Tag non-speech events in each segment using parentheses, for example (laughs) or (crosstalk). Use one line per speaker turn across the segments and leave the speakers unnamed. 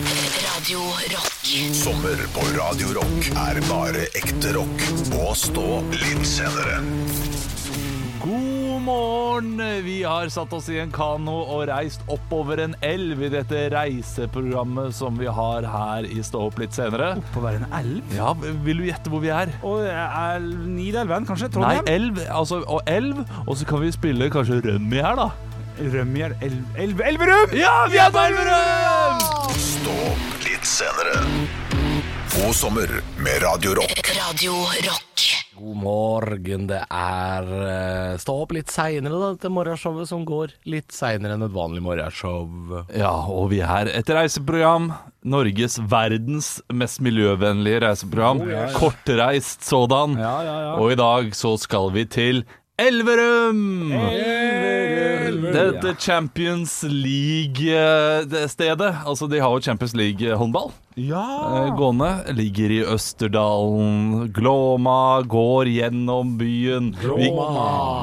Radio Rock.
Sommer på Radio Rock er bare ekte rock. Og stå litt senere.
God morgen! Vi har satt oss i en kano og reist oppover en elv i dette reiseprogrammet som vi har her i Stå opp litt senere.
På hver en elv?
Ja, vil du gjette hvor vi er?
Og er Nidelven, kanskje?
Nei,
Trondheim?
elv, altså, og elv, og så kan vi spille kanskje Rømmi her, da.
Rømjer elv, elv, Elverum!
Ja, vi er på Elverum!
Stå opp litt senere. God sommer med Radio Rock.
Radio Rock.
God morgen, det er eh, Stå opp litt seinere, da, dette morgenshowet som går litt seinere enn et vanlig morgenshow.
Ja, og vi er et reiseprogram. Norges verdens mest miljøvennlige reiseprogram. Kortreist sådan.
Ja, ja, ja.
Og i dag så skal vi til Elverum! Dette Champions League-stedet, altså de har jo Champions League-håndball
Ja!
Ah.
eh, gående, ligger i Østerdalen. Glåma går gjennom byen. Vi,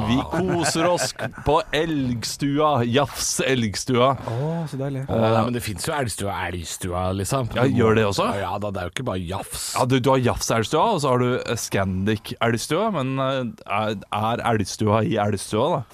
vi koser oss på Elgstua, Jafs Elgstua.
Å, så deilig.
Nei, men det fins jo elgstua og elgstua, liksom.
Ja, gjør det også?
Ja, ja da, det er jo ikke bare jafs.
Ja, du, du har Jafs Elgstua, og så har du eh, Scandic Elgstua, men eh, er er Elgstua i Elgstua, da?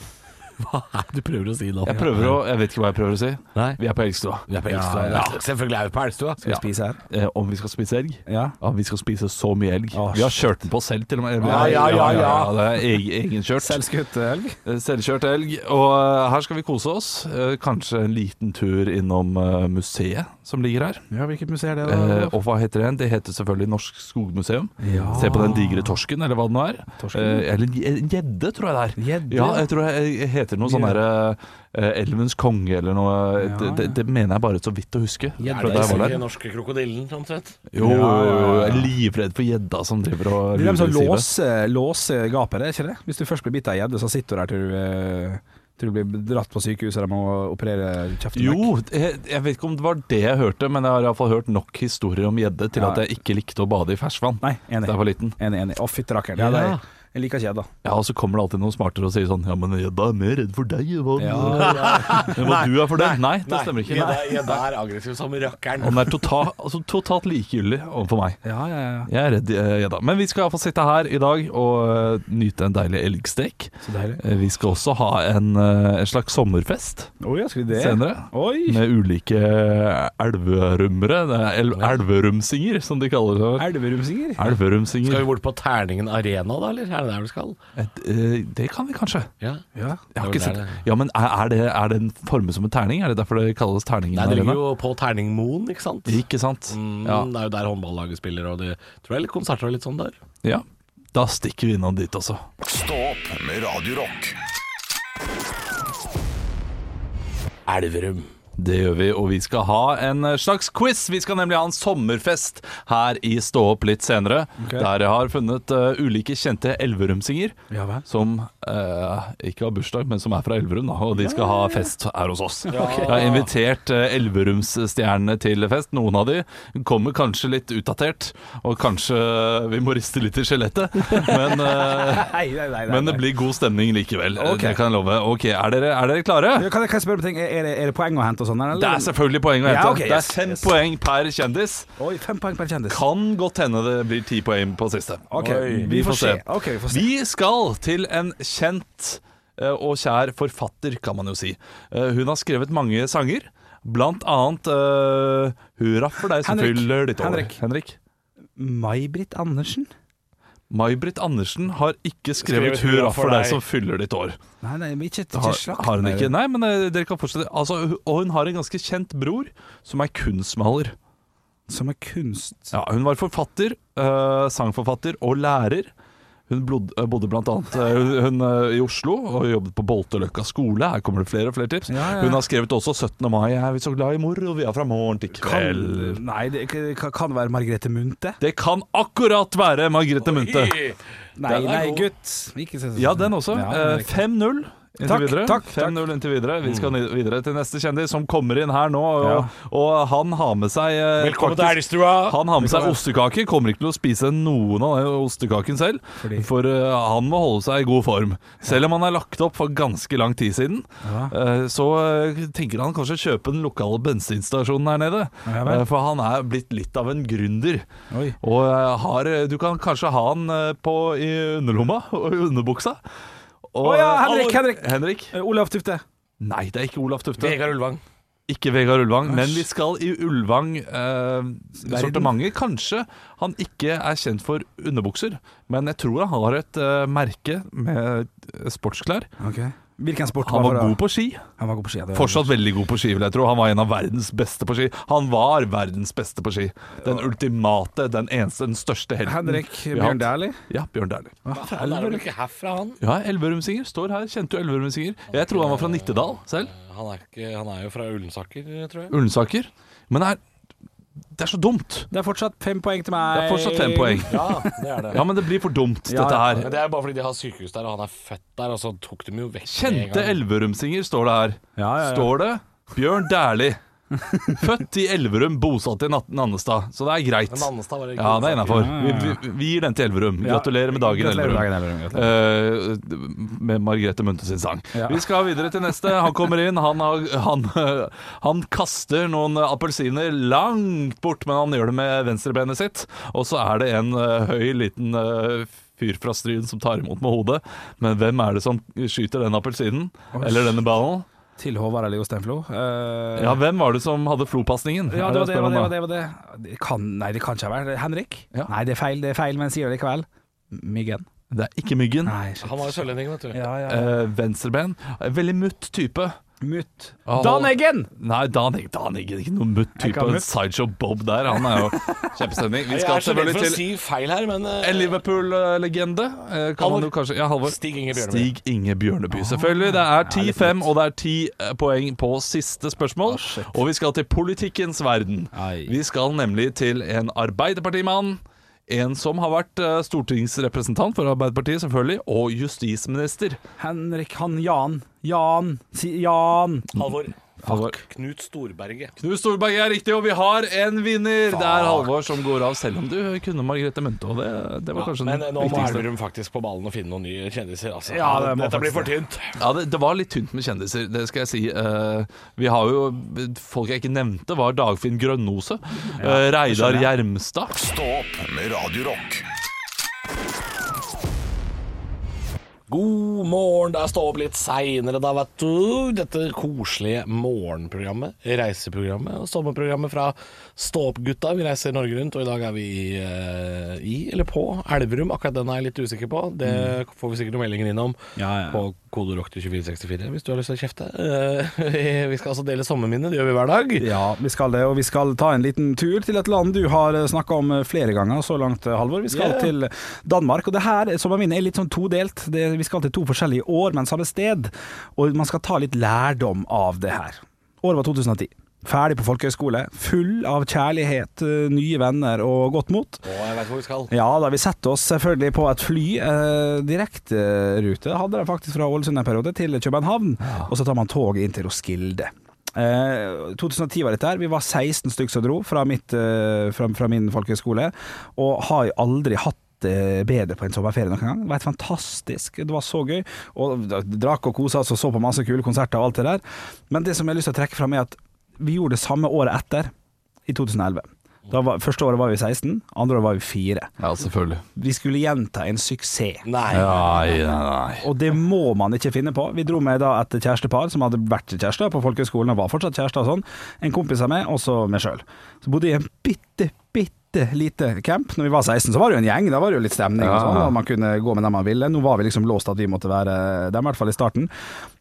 Hva er det du prøver å si nå?
Jeg prøver å Jeg vet ikke hva jeg prøver å si.
Nei.
Vi er på Elgstua.
Vi er på elgstua. Ja, Selvfølgelig er vi på elgstua.
Skal vi spise her?
Eh, om vi skal spise elg?
Ja.
Ja, vi skal spise så mye elg.
Å,
vi har kjørt den på selv, til og med.
Ja, ja, ja, ja.
Det er egen, egenkjørt.
Selvskutt elg?
Eh, Selvkjørt elg. Og eh, her skal vi kose oss. Eh, kanskje en liten tur innom eh, museet som ligger her.
Ja, hvilket museum er det?
Eh,
da?
og hva heter den? Det heter selvfølgelig Norsk Skogmuseum. Eh, Se på den digre torsken, eller hva det nå er. Eh, eller en gjedde, tror jeg det er.
Gjedde?
Ja, jeg tror det heter noe sånn derre eh, Elvens konge, eller noe. Eh, Det, det, det mener jeg bare så vidt å huske.
Ja,
Fra da jeg var der.
den norske krokodillen, omtrent.
Jo, jo, jo, jeg er livredd for gjedda som driver og
det er de som
lurer
låser, låser gapet, det er ikke det? Hvis du først blir bitt av ei gjedde, så sitter du der til du, eh, til du blir dratt på sykehuset og de må operere kjeften
Jo,
vekk.
jeg, jeg vet ikke om det var det jeg hørte, men jeg har iallfall hørt nok historier om gjedde til
Ja.
at jeg ikke likte å bade i ferskvann
Nei, enig.
da jeg var liten.
Enig, enig. Å, fytti rakkeren.
Ja.
Ja, det er- jeg liker ikke gjedda.
Ja, Og så kommer det alltid noen smartere og sier sånn Ja, men gjedda er mer redd for deg enn hva,
(laughs)
enn hva du er for det. Nei, det stemmer ikke.
Gjedda gjedda er aggressiv som rakkeren.
Og den er total, altså, totalt likegyldig overfor meg.
Ja, ja, ja.
Jeg er redd eh, gjedda. Men vi skal iallfall sitte her i dag og eh, nyte en deilig elgstek.
Så deilig.
Eh, Vi skal også ha en, eh, en slags sommerfest
Oi, ja, skal vi det?
senere.
Oi!
Med ulike elverummere. Det er el elverumsinger, som de kaller det.
Elverumsinger?
Skal vi
Elverumsinger.
bort på Terningen Arena, da, eller? Er det der vi skal?
Et, eh, Det kan vi kanskje.
Ja.
Ja.
Jeg har
Det
ikke
er
sett
vel der
Ja, men er er det, er det en forme som en terning? Er det derfor det kalles terningen?
Nei, det
Arena?
ligger jo på Terningmoen, ikke sant?
Ikke sant?
Mm,
Ja.
Det er jo der håndballaget spiller, og det tror jeg er litt konserter og litt sånn der.
ja. Da stikker vi innom dit også.
Stå opp med Radio Rock.
Elverum.
Det gjør vi, og vi skal ha en eh, slags quiz. Vi skal nemlig ha en sommerfest her i Stå opp litt senere.
Ok.
Der jeg har funnet eh, ulike kjente elverumsinger
Ja vel.
som eh, ikke har bursdag, men som er fra Elverum, da, og de skal ha fest her hos oss. Jeg har invitert uh, Elverumsstjernene til fest. Noen av de kommer kanskje litt utdatert, og kanskje vi må riste litt i skjelettet, men eh,
Nei, nei, (laughs) nei, nei.
Men det
nei.
blir god stemning likevel. eh,
Ok.
Det kan jeg love. Ok, Er dere, er dere klare?
Ja, Kan jeg, kan jeg spørre på ting? Er- Er det, er det poeng å hente og sånn? eller?
Det er selvfølgelig poeng å hente.
Ja, ok,
det er
yes,
fem
yes.
poeng per kjendis.
Oi, fem poeng per kjendis.
Kan godt hende det blir ti poeng på siste.
Ok,
Oi,
vi får se. Ok, vi får se.
Vi skal til en kjent eh, og kjær forfatter, kan man jo si. Eh, Hun har skrevet mange sanger. Blant annet eh, 'Hurra for deg som
Henrik.
fyller ditt år'.
Henrik.
Henrik.
May-Britt Andersen?
May-Britt Andersen har ikke skrevet,
Skrevet
'Hurra for deg som fyller ditt år'.
Nei, nei, men ikke, ikke
Har,
slakt.
har hun ikke? Nei, men eh, dere kan fortsette. Altså, hu- og hun har en ganske kjent bror som er kunstmaler.
Som er kunst.
Ja, hun var forfatter, eh, sangforfatter og lærer. Hun blod, eh, bodde blant annet eh, hun, hun, eh, i Oslo og jobbet på Bolteløkka skole. Her kommer det flere og flere tips.
Ja, ja.
Hun har skrevet også 17. mai. Er vi så glad i mor, og vi er fra morgen til kveld.
Kan, nei, det kan- kan det være Margrethe Munthe?
Det kan akkurat være Margrethe Munthe.
Nei,
Den er
nei,
god.
gutt. Ikke se sånn.
Ja, den også.
Ja, den er
Eh, 5-0 inntil
Takk,
videre.
takk, Mm.
5-0 inntil videre. Vi skal ned- videre til neste kjendis, som kommer inn her nå. Og, og han har med seg eh,
Velkommen til
faktisk-
Elgstua!
Han har med seg ostekake. Kommer ikke til å spise noen av den ostekaken selv, for eh, han må holde seg i god form. Selv om han er lagt opp for ganske lang tid siden, eh, så eh, tenker han kanskje å kjøpe den lokale bensinstasjonen her nede.
Ja vel.
Eh, for han er blitt litt av en gründer.
Oi.
Og eh, har, du kan kanskje ha han eh, på, i underlomma og i underbuksa. Og,
Å ja,
eh,
Henrik,
alle-
Henrik. Eh, Olav Tufte.
Nei, det er ikke Olaf Tufte.
Vegard Ulvang.
Ikke Vegard Ulvang, men vi skal i Ulvang eh, sortimentet. Kanskje han ikke er kjent for underbukser, men jeg tror han har et eh, merke med eh, sportsklær.
Hvilken sport
Han var
for å-
god på ski.
Han var god på ski. ja, det var-
Fortsatt veldig god på ski, vil jeg tro. Han var en av verdens beste på ski. Han var verdens beste på ski. Den ultimate, den eneste, den største helten.
Henrik
vi har hatt.
Bjørn Dæhlie.
Ja, Bjørn Dæhlie.
Han er vel ikke herfra, han?
Ja, Elverumsinger. Står her. Kjente jo Elverumsinger. Jeg tror han var fra Nittedal selv.
Han er, ikke, han er jo fra Ullensaker, tror jeg.
Ullensaker. Men det er, det er så dumt.
Det er fortsatt fem poeng til meg.
Det er fortsatt fem poeng.
Ja, det er det.
Ja, men det blir for dumt, dette her.
Men det er bare fordi de har sykehus der, og han er født der, og så tok de jo vekk
Kjente Elverumsinger står det her.
Ja, ja, ja.
Står det Bjørn Dæhlie. Født i Elverum, bosatt i Natt- Nannestad. Så det er greit.
Men Nannestad var det ikke
Ja, det er
Ullensaker.
innafor. Vi, vi, vi gir den til Elverum. Gratulerer med dagen,
Gratulerer med
Elverum.
dagen, Elverum. Gratulerer.
Eh, med Margrethe Munthe sin sang.
Ja.
Vi skal videre til neste. Han kommer inn. Han, har, han, eh, han kaster noen appelsiner langt bort, men han gjør det med venstrebenet sitt. Og så er det en eh, høy, liten eh, fyr fra Stryn som tar imot med hodet. Men hvem er det som skyter den appelsinen? Eller denne ballen?
Til Håvard eller Jostein Flo. Eh,
Ja, hvem var det som hadde flopasningen?
Ja,
Er
det var det,
jeg spør
var det, var
om da?
det, var det. det kan, Nei, det kan ikke være Henrik?
Ja.
Nei, det er feil, det er feil, men sier det likevel. Myggen.
Det er ikke Myggen.
Nei, shit.
Han var jo sørlending, vet du.
Ja, ja.
Eh, venstreben. Eh, Veldig mutt type.
Eh. Mutt.
Ah,
Dan Eggen!
Nei, Dan Eggen Dan Eggen er ikke noen mutt
Er ikke
type.
han
En
mutt?
Sideshow Bob der, han
(laughs)
er jo kjempestemning. Vi
jeg
skal
er så redd
selvfølgelig
for å
til
si feil her, men eh,
en Liverpool-legende. Eh, Kan
Halvor.
man jo kanskje Ja, Halvor.
Stig Inge Bjørneby. Ah,
Stig Inge Bjørneby, selvfølgelig. Det er 10-5, og det er 10 poeng på siste
Ah,
spørsmål. Og vi skal til politikkens verden.
Ai.
Vi skal nemlig til en Arbeiderpartimann. En som har vært eh, stortingsrepresentant for Arbeiderpartiet, selvfølgelig, og justisminister.
Henrik, han Jan. Jan. Si, Jan.
Halvor.
Halvor.
Knut Storberget.
Knut Storberget er riktig, og vi har en vinner! Det er Halvor som går av, selv om du kunne Margrethe Munthe, og det, det var kanskje
Men eh,
den
nå må
viktigste.
Elverum faktisk på ballen og finne noen nye kjendiser. Altså.
Ja, det må
Dette blir
faktisk
for tynt.
Ja, det, det var litt tynt med kjendiser, det skal jeg si. Eh, vi har jo Folk jeg ikke nevnte, var Dagfinn Grønnose, eh, Reidar Gjermstad
Stå opp med Radio Rock.
God morgen, det er stå opp litt seinere da, vet du. uh, Dette koselige morgenprogrammet, reiseprogrammet og sommerprogrammet fra Stå opp-gutta. Vi reiser Norge rundt, og i dag er vi i, eh, i eller på Elverum. Akkurat den er jeg litt usikker på. Det får vi sikkert noen meldinger innom
Mm. Ja, ja.
på kode rock til 2464 hvis du har lyst til å kjefte. Eh, (laughs) vi skal altså dele sommerminnet, det gjør vi hver dag.
Ja, vi skal det, og vi skal ta en liten tur til et land du har snakka om eh, flere ganger så langt, eh, Halvor. Vi skal
Ja.
til Danmark, og det her som er mine, er litt sånn todelt. Det, vi skal til to forskjellige år, men samme sted, og man skal ta litt lærdom av det her. Året var 2010. Ferdig på folkehøyskole, full av kjærlighet, eh, nye venner og godt mot.
Å, jeg veit hvor vi skal.
Ja, da vi setter oss selvfølgelig på et fly. Eh, Direkterute hadde de faktisk fra Ålesund en periode til København, og så tar man tog inn til Roskilde. Eh, 2010 var dette her. Vi var 16 stykk som dro fra, mitt, eh, fra, fra min folkehøyskole, og har jo aldri hatt det bedre på en sommerferie noen gang. Det var helt fantastisk. Det var så gøy. Og da- drakk og kosa oss og så på masse kule konserter og alt det der. Men det som jeg har lyst til å trekke fram, er at vi gjorde det samme året etter, i 2011. Da var, første året var vi 16, andre året var vi 4
Ja, selvfølgelig.
vi skulle gjenta en suksess.
Nei.
Nei, nei,
Og det må man ikke finne på. Vi dro med da et kjærestepar som hadde vært kjærester på folkehøyskolen og var fortsatt kjærester og sånn. En kompis av meg, og så meg sjøl. Så bodde jeg i en bitte, bitte lite camp. Når vi var 16, så var det jo en gjeng. Da var det jo litt stemning og sånn.
Ja.
Og man kunne gå med dem man ville. Nå var vi liksom låst at vi måtte være dem, i hvert fall i starten.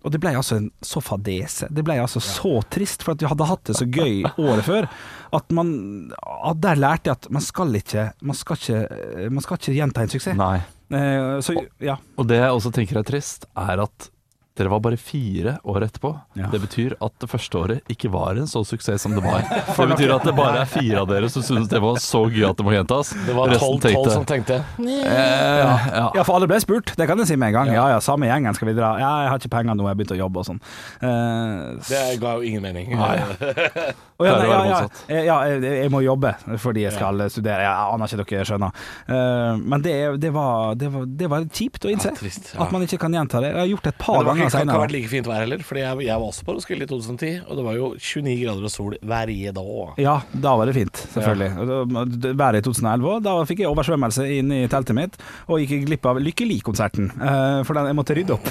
Og det ble altså en så fadese. Det ble altså så trist, for at vi hadde hatt det så gøy året før. At man at Der lærte jeg at man skal ikke Man skal ikke, man skal ikke gjenta en suksess.
nei.
Eh, så ja.
Og det jeg også tenker er trist, er at Dere var bare fire år etterpå.
Ja.
Det betyr at det første året ikke var en så suksess som det var.
(laughs)
Det betyr at det bare er fire av dere som syns det var så gøy at det må gjentas.
Det var
Resten
12-12
tenkte,
som tenkte
eh, ja.
Ja, for alle ble spurt, det kan jeg si med en gang. Ja ja, samme gjengen skal vi dra. Ja, jeg har ikke penger nå, jeg har begynt å jobbe og sånn. Eh, s-
Det ga jo ingen mening.
Nei.
Å, ja,
pleier å være
nei, ja, Eh,
motsatt.
ja, ja, jeg, jeg må jobbe fordi jeg skal eh, studere. Jeg aner ikke dere skjønner. Eh, men det, det, var, det, var, det var kjipt å innse.
Ja, trist, ja.
At man ikke kan gjenta det. Jeg har gjort det et
Men
par
det var
ganger
ikke, det kan ikke ha vært
senere.
like fint vær heller, Fordi jeg, jeg var også på Roskilde i 2010, og det var jo 29 grader og sol hver dag.
Ja, da var det fint, selvfølgelig. Og da- det- Været i 2011 òg. Da fikk jeg oversvømmelse inn i teltet mitt, og gikk glipp av Lykkeli-konserten. eh, for den, jeg måtte rydde opp.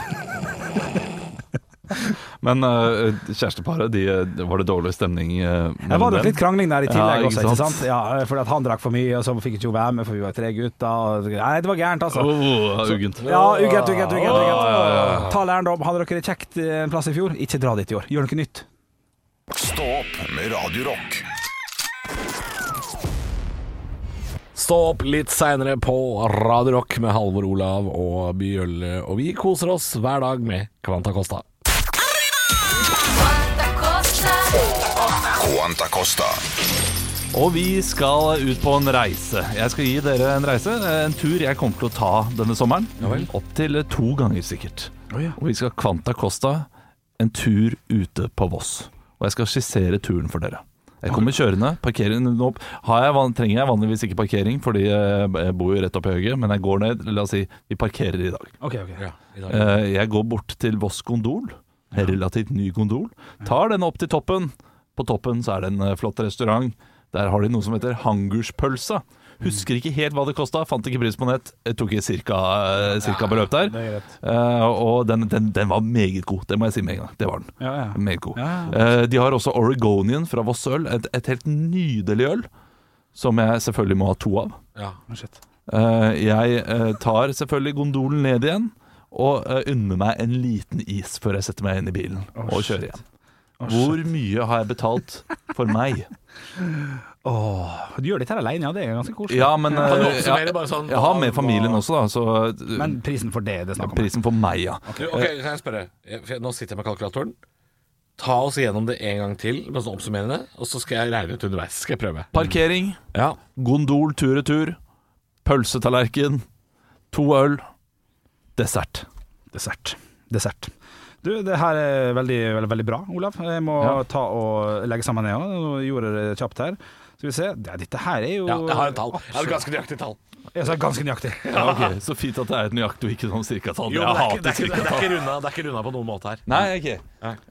Men eh, kjæresteparet, de, eh, var det dårlig stemning? eh,
Det
mellom
var nok
dem?
litt krangling der i tillegg
Ja,
også,
ikke
ikke
sant?
sant? Ja, fordi at han drakk for mye, og så fikk ikke hun være med, for vi var tre gutter. Og... Nei, det var gærent,
Oh,
altså.
Åh, uggent.
Ja, ugreit, ugreit, ugreit.
Åh.
ugreit. Ta lærdom. Hadde dere det kjekt eh, en plass i fjor? Ikke dra dit i år. Gjør noe nytt.
Stå opp med Radio Rock.
Stå opp litt seinere på Radio Rock med Halvor Olav og Bjølle, og vi koser oss hver dag med Kvanta Costa.
Quanta Costa.
Og vi skal ut på en reise. Jeg skal gi dere en reise. En tur jeg kommer til å ta denne sommeren. Opptil to ganger sikkert. Og vi skal Kvanta Costa en tur ute på Voss. Og jeg skal skissere turen for dere. Jeg kommer kjørende, parkerer den opp. Har jeg, van- trenger jeg vanligvis ikke parkering, fordi eh, jeg bor jo rett oppi høyre, men jeg går ned. La oss si vi parkerer i dag.
Ok, ok.
Eh, Jeg går bort til Voss Gondol, en relativt ny gondol. Tar den opp til toppen. På toppen så er det en eh, flott restaurant. Der har de noe som heter hangerspølse. Husker ikke helt hva det kosta, fant ikke pris på nett. Jeg tok i cirka, eh, cirka beløp der. Eh, og den, den, den var meget god, det må jeg si med en gang. Det var den.
Ja, ja.
Meget god.
Ja,
Eh, de har også Oregonian fra Voss øl, et, et helt nydelig øl. Som jeg selvfølgelig må ha to av.
Shit.
Eh, jeg eh, tar selvfølgelig gondolen ned igjen og eh, unner meg en liten is før jeg setter meg inn i bilen og kjører igjen. Hvor mye har jeg betalt for meg?
Åh, du gjør dette her alene, ja. Det er ganske koselig.
Ja, men eh,
Kan du oppsummere
jeg,
bare sånn?
jeg har med familien også, da, så eh,
Men prisen for det, det er snakk om.
prisen for meg, ja.
Du, ok, kan jeg spørre? Jeg- for jeg- Nå sitter jeg med kalkulatoren. Ta oss gjennom det en gang til, med sånn oppsummerende, og så skal jeg regne ut underveis. Skal jeg prøve.
Parkering,
Ja.
gondol tur-retur, pølsetallerken, to øl, dessert.
Dessert. Dessert. Du, det her er veldig, veldig, veldig bra, Olav. Jeg må
Ja.
ta og legge sammen det òg. Gjorde det kjapt her. Skal vi se. Ja, dette her er jo
Ja, jeg har et tall. Jeg har et ganske nøyaktig tall.
Jeg sa ganske nøyaktig.
Ja, ok, Så fint at det er et nøyaktig og ikke sånn cirkatall.
Jo,
Jeg
men det er ikke-
hater
det er ikke- det er
cirkatall.
ikke runda- det er ikke runda på noen måte her.
Nei, ikke.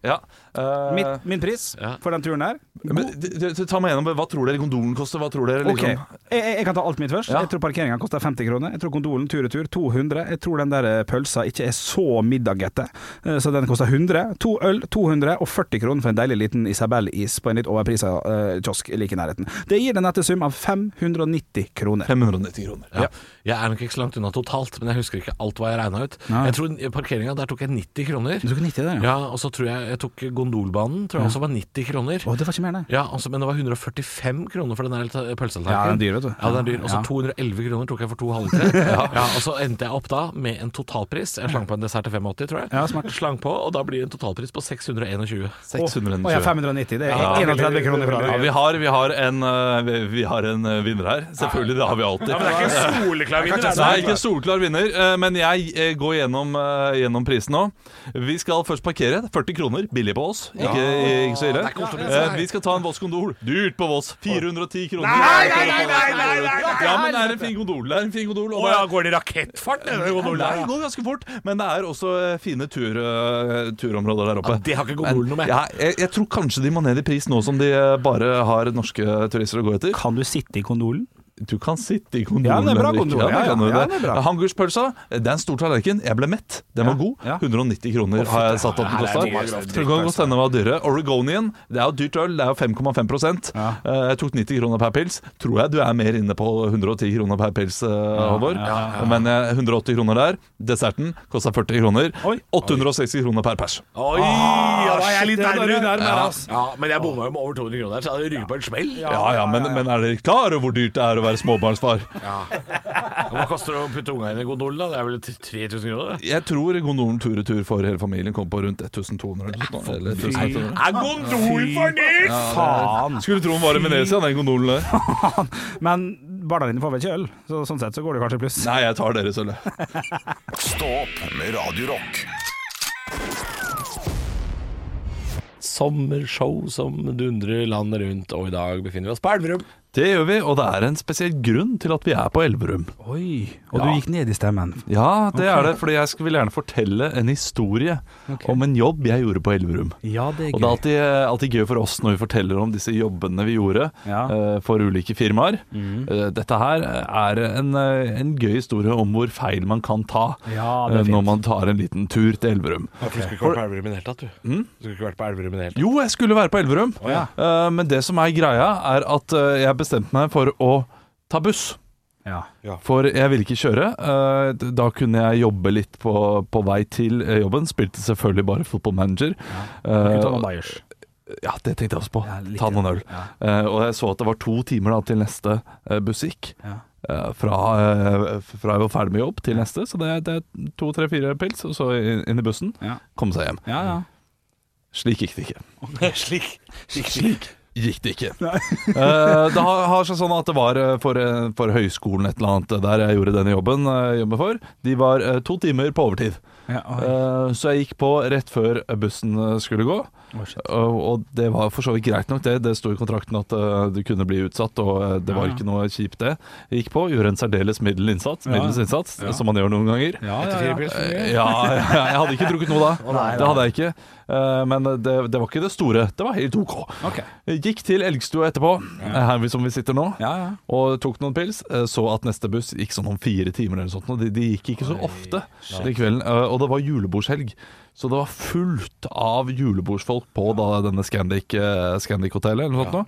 Ja. eh,
Min, min pris
Ja.
for den turen her
Men, d- d- d- ta meg gjennom, hva tror dere gondolen koster? Hva tror dere
Ok,
liksom?
jeg, jeg jeg kan ta alt mitt først.
Ja.
Jeg tror parkeringa koster 50 kroner. Jeg tror kondolen tur-retur 200. Jeg tror den der eh, pølsa ikke er så middagete, eh, så den koster 100. To øl 200 og 40 kroner for en deilig liten Isabel-is på en litt overprisa eh, kiosk like i nærheten. Det gir en nette sum av 590 kroner.
590 kroner.
Ja. Jeg er nok ikke så langt unna totalt, men jeg husker ikke alt hva jeg regna ut.
Nei.
Jeg tror parkeringa, der tok jeg 90 kroner.
Du tok 90 der, ja?
Ja, og så tror jeg jeg tok gondolbanen, tror jeg også var 90 kroner.
Å, det var ikke mer, det.
Ja, altså, Men det var 145 kroner for den der ta- pølsetallerkenen.
Ja, den er dyr, vet du.
Ja, den er dyr. Og så
Ja.
211 kroner tok jeg for to
(laughs)
halvlitere. ja. og så endte jeg opp da med en totalpris. Jeg slang på en dessert til 85, tror jeg.
Ja, smart.
Slang på, og da blir det en totalpris på 621.
Å ja,
620.
590. Det er 31 kroner fra
Ja,
deg.
vi har, vi har en, eh, vi- vi har en eh, vinner her. Selvfølgelig, det har vi alltid.
Soleklar
Nei, ikke solklar vinner, eh, men jeg eh, går gjennom, eh, gjennom prisen nå. Vi skal først parkere. 40 kroner, billig på oss. Ikke, ikke så ille.
det er koselig pris,
Eh, Vi skal ta en Voss gondol. Dyrt på Voss. 410 kroner. Nei, nei, nei, Ja, men det er en fin gondol. Det er en fin gondol. Og det er-
går det i rakettfart? denne
Nei,
gondolen?
det går ganske fort, men det er også eh, fine tur, eh, turområder der oppe.
Ja, det har ikke gondolen noe med.
Ja, jeg, jeg tror kanskje de må ned i pris nå som de eh, bare har norske turister å gå etter.
Kan du sitte i kondolen?
Du kan sitte i kondolen.
Ja, det er bra
Henrik.
gondol.
Ja, det
Ja,
kan
ja,
du
ja,
det.
det er bra.
Hangerspølsa, det er en stor tallerken. Jeg ble mett. Den var
Ja,
god.
ja.
190 kroner har jeg satt opp den
det er
altså.
mye
kosta.
grovt.
Tror ikke godt hende den var dyrere. Oregonian, det er jo dyrt øl. Det er jo 5,5
Ja.
Eh, Jeg tok 90 kroner per pils. Tror jeg du er mer inne på 110 kroner per pils, eh, Halvor. Men eh, 180 kroner der. Desserten kosta 40 kroner.
Oi.
860 kroner per pers.
Oi,
Ah,
ja, da er jeg litt
shit, det var du
nærmere.
nærmere,
Ja,
ass.
ja, men jeg bomma jo med over 200 kroner, her, så jeg hadde ryket på en smell.
Ja, ja, men, men er dere klar over hvor dyrt det er for å være småbarnsfar.
Hva koster det å putte unga inn i gondolen? da? Det er vel 3000 kroner? det?
(laughs) Jeg tror gondolen tur-retur for hele familien kom på rundt 1200 eller noe sånt. Eller 1500.
Er gondolen for dyrt?!
Faen!
Skulle tro den var i Venezia, den gondolen der.
Men barna dine får vel ikke øl, så sånn sett så går det kanskje i pluss.
Nei, jeg tar deres øl, jeg.
Stå opp med Radio Rock.
Sommershow som dundrer landet rundt, og i dag befinner vi oss på Elverum.
Det gjør vi, og det er en spesiell grunn til at vi er på Elverum.
Oi, og du gikk ned i stemmen.
Ja, det er det, fordi jeg skulle- vil gjerne fortelle en historie om en jobb jeg gjorde på Elverum.
Ja, det
Og det er alltid, eh, alltid gøy for oss når vi forteller om disse jobbene vi gjorde
Ja. Mhm.
eh, for ulike firmaer. Eh, dette her er en, eh, en gøy historie om hvor feil man kan ta
Ja, det er
eh,
fint.
når man tar en liten tur til Elverum.
Du Mm? skulle ikke vært på Elverum i det hele tatt, du. Du skulle ikke vært på Elverum i det hele tatt.
Jo, jeg skulle være på Elverum,
ja.
eh, men det som er greia, er at eh, jeg bestemte meg for å ta buss.
Ja.
For jeg ville ikke kjøre. eh, d- Da kunne jeg jobbe litt på, på vei til eh, jobben. Spilte selvfølgelig bare football manager.
Gutta
Eh,
og Bayers.
Ja, det tenkte jeg også på.
Ja, litt,
Ta noen øl.
ja.
Eh, og jeg så at det var to timer da, til neste eh, buss gikk.
Ja.
Eh, fra, eh, fra jeg var ferdig med jobb til neste, så det, er- det er to, tre, fire pils, og så inn inn i bussen.
Ja.
Komme seg hjem.
Ja, ja.
Slik gikk det ikke.
Slik.
Slik gikk det ikke. (laughs) Eh, det har, har seg sånn at det var eh, for, eh, for høyskolen et eller annet eh, der jeg gjorde denne jobben, eh, jobben for. De var eh, to timer på overtid.
ja oi.
Eh, så jeg gikk på rett før bussen eh, skulle gå.
Oi, shit.
Og, og det var for så vidt greit nok, det. Det sto i kontrakten at eh, du kunne bli utsatt, og eh, det var ikke noe kjipt, det. Jeg gikk på, gjorde en særdeles middel innsats,
Ja.
middels innsats
Ja.
som man gjør noen ganger.
Ja, ja,
Fire
ja.
pils for
Eh,
mye.
Ja, jeg hadde ikke drukket noe da. Det hadde jeg ikke. Eh, Men det, det var ikke det store. Det var helt OK.
Ok.
Gikk til Elgstua etterpå, eh, her vi- som vi sitter nå,
Ja, ja.
og tok noen pils. eh, Så at neste buss gikk sånn om fire timer eller sånt. Og de, de gikk ikke så ofte den kvelden. eh, Og det var julebordshelg, så det var fullt av julebordsfolk på da denne Scandic, eh, Scandic-hotellet eller noe sånt. nå.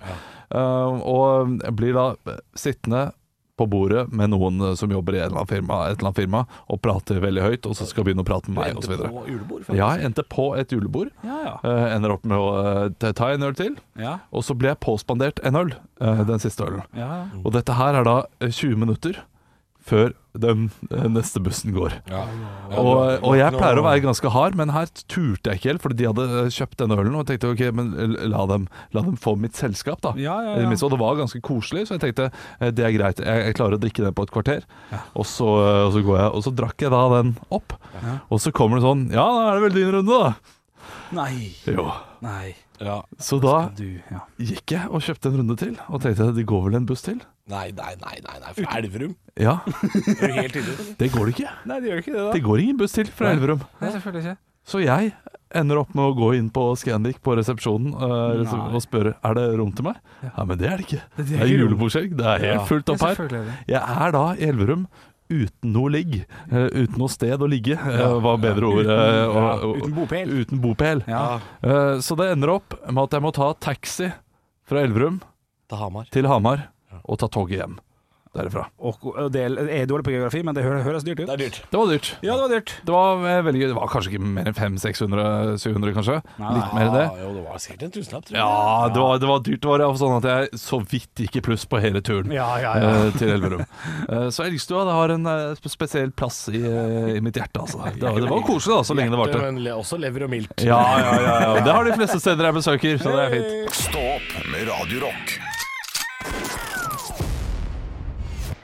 Eh, Og blir da eh, sittende på bordet med noen eh, som jobber i et eller annet firma, et eller annet firma og prater veldig høyt, og så skal begynne å prate med meg osv.
På julebord, faktisk.
Ja, jeg endte på et julebord.
Ja, ja.
eh, Ender opp med å eh, ta en øl til.
Ja,
Og så ble jeg påspandert en øl, eh, den siste ølen.
ja.
Og dette her er da eh, 20 minutter før den eh, neste bussen går.
Ja.
Og, og jeg pleier å være ganske hard, men her turte jeg ikke helt, fordi de hadde eh, kjøpt denne ølen. Og jeg tenkte ok, men eh, la dem, la dem få mitt selskap, da.
Ja, ja,
I det
ja.
minste. Og det var ganske koselig, så jeg tenkte eh, det er greit. Jeg, jeg klarer å drikke den på et kvarter, og, så, eh, og så går jeg. Og så drakk jeg da den opp. Og så kommer det sånn Ja, da er det vel din runde, da.
Nei,
Jo.
nei.
Ja.
Så da
Du, ja.
gikk jeg og kjøpte en runde til, og tenkte det går vel en buss til?
Nei, nei, nei, nei, nei. For Elverum.
Ja,
Er du helt inne?
det går det ikke.
Nei, det gjør ikke det,
Det går ingen buss til fra Elverum.
Nei, selvfølgelig ikke.
Så jeg ender opp med å gå inn på Scandic på resepsjonen eh, resep-
Nei.
og spørre er det rom til meg. Nei, men det er det ikke.
Det er
Det er
ikke rom.
julebordshelg. Det er helt fullt opp
Ja,
her.
selvfølgelig er det.
Jeg er da i Elverum. Uten noe ligg, eh, uten noe sted å ligge, eh, var bedre ord. eh,
ja,
og- og-
uten bopel.
Uten bopel.
Ja.
Eh, Så det ender opp med at jeg må ta taxi fra Elverum
Til Hamar.
til Hamar og ta toget hjem derifra.
Og, og det er jeg er dårlig på geografi, men det hø- høres dyrt ut.
Det er dyrt.
Det var dyrt.
Ja, det var dyrt.
Det var eh, veldig gøy. Det var kanskje ikke mer enn 500-600-700, kanskje.
Nei,
Litt mer enn det.
Ja, Ah, jo, det var sikkert en tusenlapp, tror jeg.
Ja, det var, det var dyrt. Det var iallfall sånn at jeg så vidt gikk i pluss på hele turen
Ja, ja,
eh, til Elverum. (laughs) Eh, så Elgstua det har en eh, sp- spesiell plass i, eh, i mitt hjerte, altså. Det, var- det var koselig, da, så lenge det varte.
Men le- også lever og mildt.
Ja, ja, ja, ja. Det har de fleste steder jeg besøker, så det er fint.
Stå opp med Radio Rock.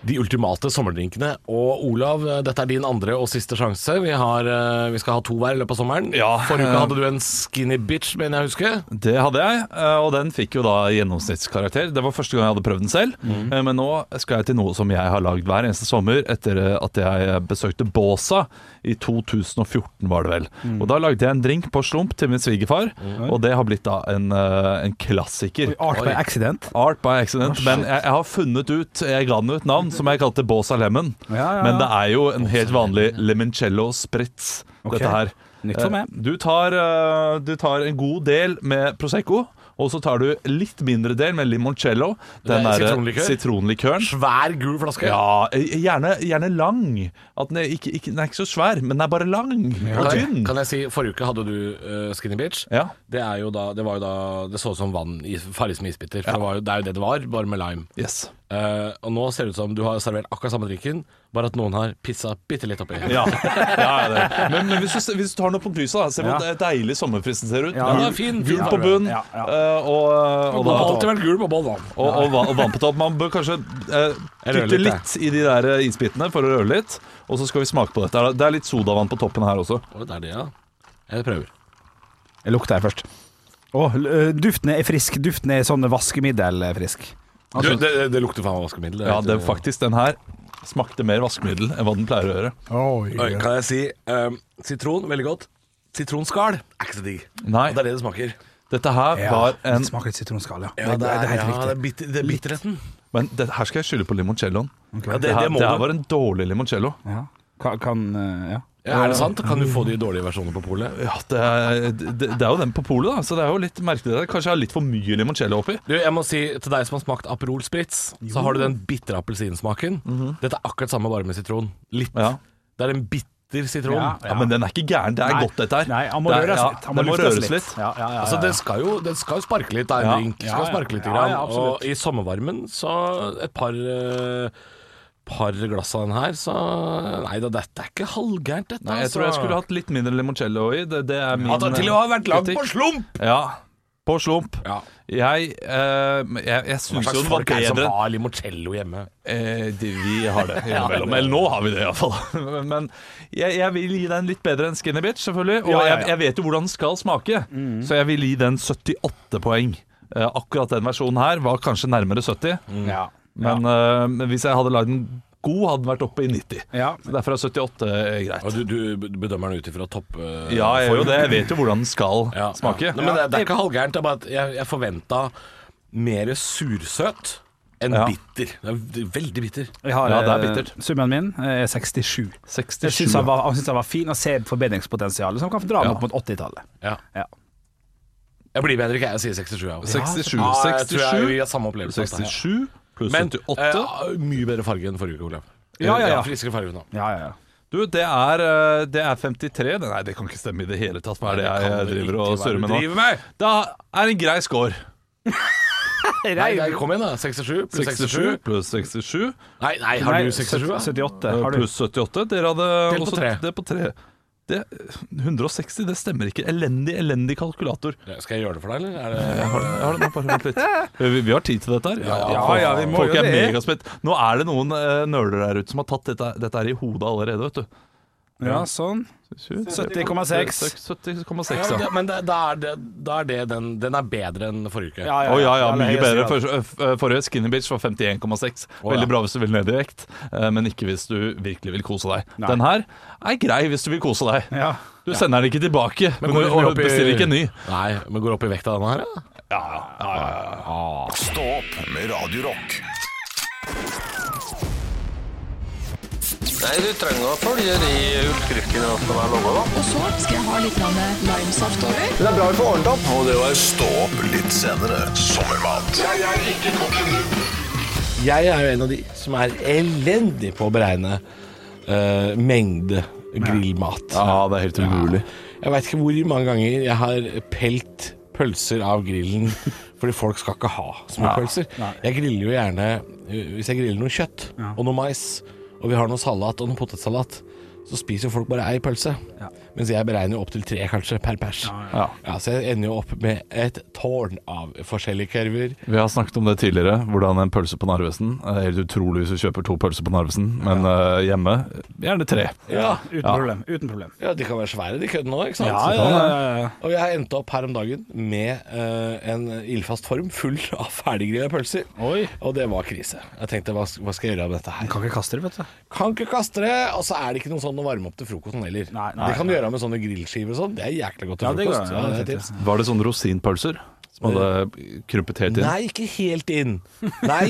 De ultimate sommerdrinkene. Og Olav, eh, dette er din andre og siste sjanse. Vi, har, eh, vi skal ha to hver i løpet av sommeren.
Ja,
Forrige
eh,
uke hadde du en skinny bitch, mener jeg å huske.
Det hadde jeg, eh, og den fikk jo da gjennomsnittskarakter. Det var første gang jeg hadde prøvd den selv, eh, men nå skal jeg til noe som jeg har lagd hver eneste sommer etter eh, at jeg besøkte Båsa i 2014, var det vel. Og da lagde jeg en drink på slump til min svigerfar, og det har blitt da en, eh, en klassiker.
Art by accident.
Art by accident, men jeg, jeg har funnet ut Jeg ga den ut navn som jeg kalte Båsa Lemon.
Ja, ja, ja.
Men det er jo en helt vanlig limoncello spritz,
Ok.
dette her.
Nytt for
Eh,
meg.
Du tar, eh, du tar en god del med Prosecco, Og så tar du litt mindre del med limoncello. Den
Det er
derre
sitronlikør.
sitronlikøren.
Svær gul flaske.
Ja, eh, gjerne, gjerne lang. At den, er ikke, ikke, den er ikke så svær, men den er bare lang og
Kan jeg,
tynn.
kan jeg si, Forrige uke hadde du eh, Skinny Bitch.
Ja.
Det, er jo da, det var jo da Det så ut som vann i farris med isbiter. For det, var jo, det er jo det det var, bare med lime.
Yes.
Eh, og nå ser det ut som du har servert akkurat samme drikken, bare at noen har pissa bitte litt oppi.
Ja, ja det. er det. Men, men hvis, du, hvis du tar noe på pysa, da, se hvor
Ja.
deilig sommerfristen ser ut.
Ja.
Den
Ja,
er
fin, fin
Gul på
farge.
bunn
Ja, ja.
eh, og, og,
Det
da,
har
og,
alltid vært gul på bånn, da.
og, vann- og vann på topp. Man bør kanskje eh,
Jeg rører
kutte
litt, jeg.
litt i de der eh, isbitene for å røre litt. Og så skal vi smake på dette. Det er- Det er litt sodavann på toppen her også.
Å, det er det, ja. Jeg prøver.
Jeg lukter her først. Å, l- ø, duften er frisk. Duften er sånn vaskemiddelfrisk.
Du, det, det- Altså- det lukter faen meg vaskemiddel.
Ja, det, faktisk den her smakte mer vaskemiddel enn hva den pleier å gjøre.
Oi, kan jeg si eh, sitron, veldig godt. Sitronskall er ikke så digg.
Nei.
Og Det er det det smaker.
Dette her
Ja,
var en
Det smaker litt sitronskall, ja.
Ja,
det, det er helt
ja, det
riktig.
er bitter, det er bitterheten.
Men det, her skal jeg skylde på limoncelloen.
Ja, det,
Det, her,
det må
det her
du.
var en dårlig limoncello.
Ja. Kan, kan ø, ja.
Ja, er det sant? Kan du få de dårlige versjonene på polet?
Ja, det er, det, det er jo den på polet, da, så det er jo litt merkelig. det der. Kanskje jeg har litt for mye limoncello oppi.
Du, jeg må si til deg som har smakt Aperol Spritz, så har du den bitre appelsinsmaken. Dette er akkurat samme, bare med sitron. Litt.
Ja.
Det er en bitter sitron.
Ja,
Ja, Men den er ikke gæren. Det er
Nei.
godt, dette her.
Nei, han må
Det er-
røres
ja,
litt. Han må
det må
luftes
røres litt.
Ja, ja, ja,
Altså,
ja,
den skal jo, den skal jo sparke litt, da. En
Ja.
drink
Ja,
skal
ja.
sparke litt.
Ja,
grann.
ja, absolutt.
og i sommervarmen, så et par, eh, par glass av den her, så Nei da, dette er ikke halvgærent, dette. altså.
Nei, jeg tror jeg skulle hatt litt mindre limoncello i. Det, det er min eh,
At det til å ha vært lagd på
kritikk.
slump!
Ja, på slump.
Ja.
Jeg, eh, jeg, jeg
Hva
syns jo
slags
den var
folk er det som
bedre
har limoncello hjemme?
Eh, det, vi har
(laughs)
det innimellom. Eller nå har vi det, iallfall. (laughs) Men jeg, jeg vil gi den litt bedre enn Skinny Bitch, selvfølgelig. Og
Ja, ja, ja.
Jeg, jeg vet jo hvordan den skal smake,
Mm.
så jeg vil gi den 78 poeng. Eh, akkurat den versjonen her var kanskje nærmere 70,
Mm.
ja.
men, eh, men hvis jeg hadde lagd den god, hadde den vært oppe i 90.
Ja.
Så derfor er 78 greit.
Og du, du bedømmer den ut ifra topp... eh,
Ja, jeg gjør jo
form.
det. Jeg vet jo hvordan den skal
Ja.
smake.
Ja. Nei, men det, det er ikke halvgærent. Det er bare at jeg, jeg forventa mer sursøt enn
Ja.
bitter. Det er v- veldig bitter.
Jeg har,
Ja, det er
ø,
bittert.
Summen min er 67. Jeg
67.
syns han, var- jeg synes han var fin og ser forbedringspotensialet, som kan dra den opp mot 80-tallet.
Ja.
Ja.
Jeg blir bedre ikke jeg, jeg sier 67. Jeg, også.
67,
Ja, jeg tror jeg vi
67,
har samme opplevelse. av dette her.
67 pluss
Men
78.
eh, mye bedre farge enn forrige uke, Olav.
Ja, ja, ja.
Friskere farge nå.
Ja, ja, ja.
Du, det er, eh, det er 53. Det- Nei, det kan ikke stemme i det hele tatt. Hva er det
Nei, det kan
jeg
det
driver
ikke
og
være.
surrer med
Du
nå?
driver med.
Da er det en grei score.
Nei, nei, kom igjen, da. 67 pluss
67
67.
pluss 67
Nei, nei, har
Nei,
du 67? da?
78
eh,
har du.
pluss 78. Dere hadde
Delt på tre.
det på tre. Det, 160, det stemmer ikke. Elendig, elendig kalkulator.
Skal jeg gjøre det for deg, eller? Er det...
Jeg har, jeg har det nå, bare vent litt. Eh, Vi, vi har tid til dette her.
ja,
folk-
ja, vi må
folk
jo
er
det.
megaspent. Nå er det noen uh, nøler der ute som har tatt dette, dette her i hodet allerede, vet du.
Ja, sånn. 70,6.
70,6,
Ja,
ja.
det, men det, da, er det, da er det den Den er bedre enn forrige uke.
Å ja, ja,
eller
mye
jeg
bedre.
sier at-
For, øh, forrige Skinny Bitch var 51,6.
ja.
Veldig bra hvis du vil ned i vekt, eh, men ikke hvis du virkelig vil kose deg. Den her er grei hvis du vil kose deg.
Ja.
Du sender den ikke tilbake, men, du og bestiller ikke en ny.
Nei, men går opp i vekta denne her, ja?
Stå opp med Radio Rock.
Nei, du trenger å følge de oppskriftene som er laga, da.
Og så skal jeg ha litt grann limesaft over.
Det er bra vi får ordnet opp.
Og det var Stå opp litt senere. Sommermat.
Jeg er jo en av de som er elendig på å beregne eh, mengde grillmat.
Ja, det er helt umulig.
Jeg veit ikke hvor mange ganger jeg har pelt pølser av grillen (laughs) fordi folk skal ikke ha så mye pølser. Jeg griller jo gjerne eh, Hvis jeg griller noe kjøtt og noe mais, og vi har noe salat og noe potetsalat, så spiser jo folk bare ei pølse. Mens jeg beregner jo opptil tre, kanskje, per pers.
Ja.
Ja, så jeg ender jo opp med et tårn av forskjellige kurver.
Vi har snakket om det tidligere, hvordan en pølse på Narvesen Det er helt utrolig hvis du kjøper to pølser på Narvesen, men eh, hjemme gjerne tre.
Ja,
Uten problem. Uten problem.
ja de kan være svære, de køddene òg, ikke sant?
sånn,
Og jeg endte opp her om dagen med eh, en ildfast form full (laughs) av ferdiggrilla pølser.
Oi.
Og det var krise. Jeg tenkte hva, hva skal jeg gjøre av dette her?
Kan ikke kaste det, vet du.
Kan ikke kaste det! Og så er det ikke noe sånn å varme opp til frokosten heller.
Nei, nei,
det kan du gjøre med sånne grillskiver og sånn. Det er jækla godt til
Ja, det går
frokost.
an, ja,
det er
det er
tips.
Var det sånne rosinpølser? Som hadde krympet helt inn?
Nei, ikke helt inn. Nei!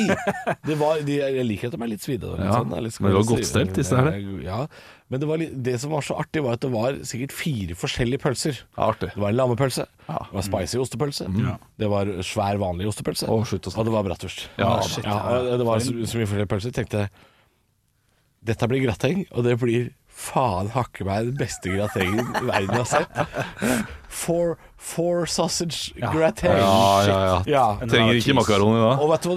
Det var, de, jeg liker at de er litt svidde. og litt
Ja,
sånn, er litt
men det var
skråsiv.
godt stelt, disse her.
Ja, men det, var litt, det som var så artig, var at det var sikkert fire forskjellige pølser.
Ja, artig.
Det var en lammepølse, det var spicy ostepølse, det var svær vanlig ostepølse,
Mm. Å, slutt å snakke.
og det var bratwurst.
Ja,
Ja,
shit,
og det var så, så mye forskjellige pølser. Jeg tenkte dette blir grateng, og det blir faen hakke meg den beste gratengen verden har sett. Four, four sausage grating.
Ja, ja, ja. Trenger ikke makaron i dag.
Og vet du hva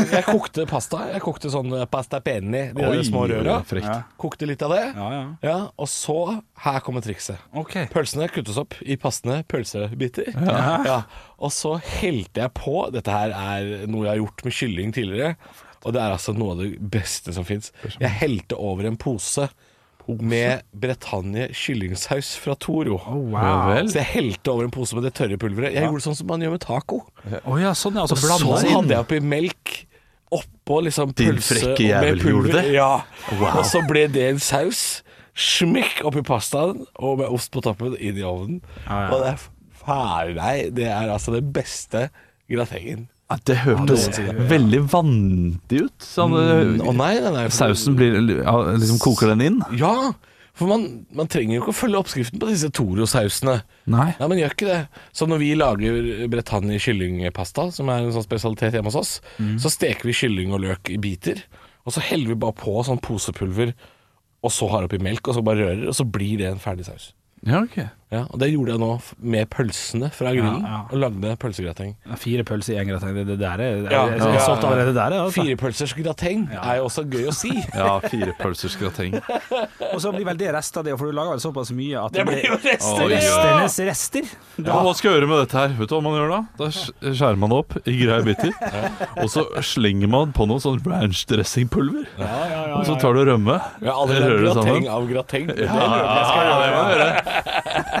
du Jeg kokte pasta. Jeg kokte sånn pasta penne, de der
Oi,
små røra.
frekt.
Ja. Kokte litt av det.
Ja, ja.
og så Her kommer trikset.
Ok.
Pølsene kuttes opp i passende pølsebiter. (laughs) Ja. Og så helte jeg på Dette her er noe jeg har gjort med kylling tidligere. Og det er altså noe av det beste som fins. Jeg helte over en pose Oh, med Bretagne kyllingsaus fra Toro.
Ja vel.
Så jeg helte over en pose med det tørre pulveret. Jeg gjorde sånn som man gjør med taco.
Å ja, sånn ja.
Og så hadde jeg oppi melk oppå liksom
Din
pølse
frekke
og
jævel
med pulver.
gjorde det?
Ja. Og så ble det en saus. Smekk oppi pastaen, og med ost på toppen, inn i ovnen. Og det er faen meg Det er altså den beste gratengen.
Ja, det hørtes veldig vandig ut. Sånn,
Å nei, den er
Sausen blir ja, liksom Koker den inn?
Ja, for man, man trenger jo ikke å følge oppskriften på disse Toro-sausene.
Nei.
Nei, men gjør ikke det. Så når vi lager Bretagne kyllingpasta, som er en sånn spesialitet hjemme hos oss,
Mm.
så steker vi kylling og løk i biter, og så heller vi bare på sånn posepulver, og så har oppi melk, og så bare rører, og så blir det en ferdig saus.
Ja, ok.
Ja, og det gjorde jeg nå f- med pølsene fra grillen, og lagde pølsegrateng.
Fire pølser i én grateng, det det der er Jeg
Ja,
jeg
ja,
er
ja.
solgt allerede der. jeg, Altså.
Firepølsers grateng er jo også gøy å
(laughs)
si.
Ja, fire pølsers grateng.
Og så blir vel det rester av det, for du lager vel såpass mye at
Det blir jo rester,
Oi,
det jo!
Resternes rester.
Ja, hva skal jeg gjøre med dette her? Vet du hva man gjør da? Da sk- skjærer man det opp i greie biter, og så slenger man på noe sånn ranch dressingpulver. Og så tar du rømme.
Jeg har aldri
Rører
lagd
det
grateng
sammen.
av grateng. Det
Ja,
lurer jeg på.
ja, det må du gjøre.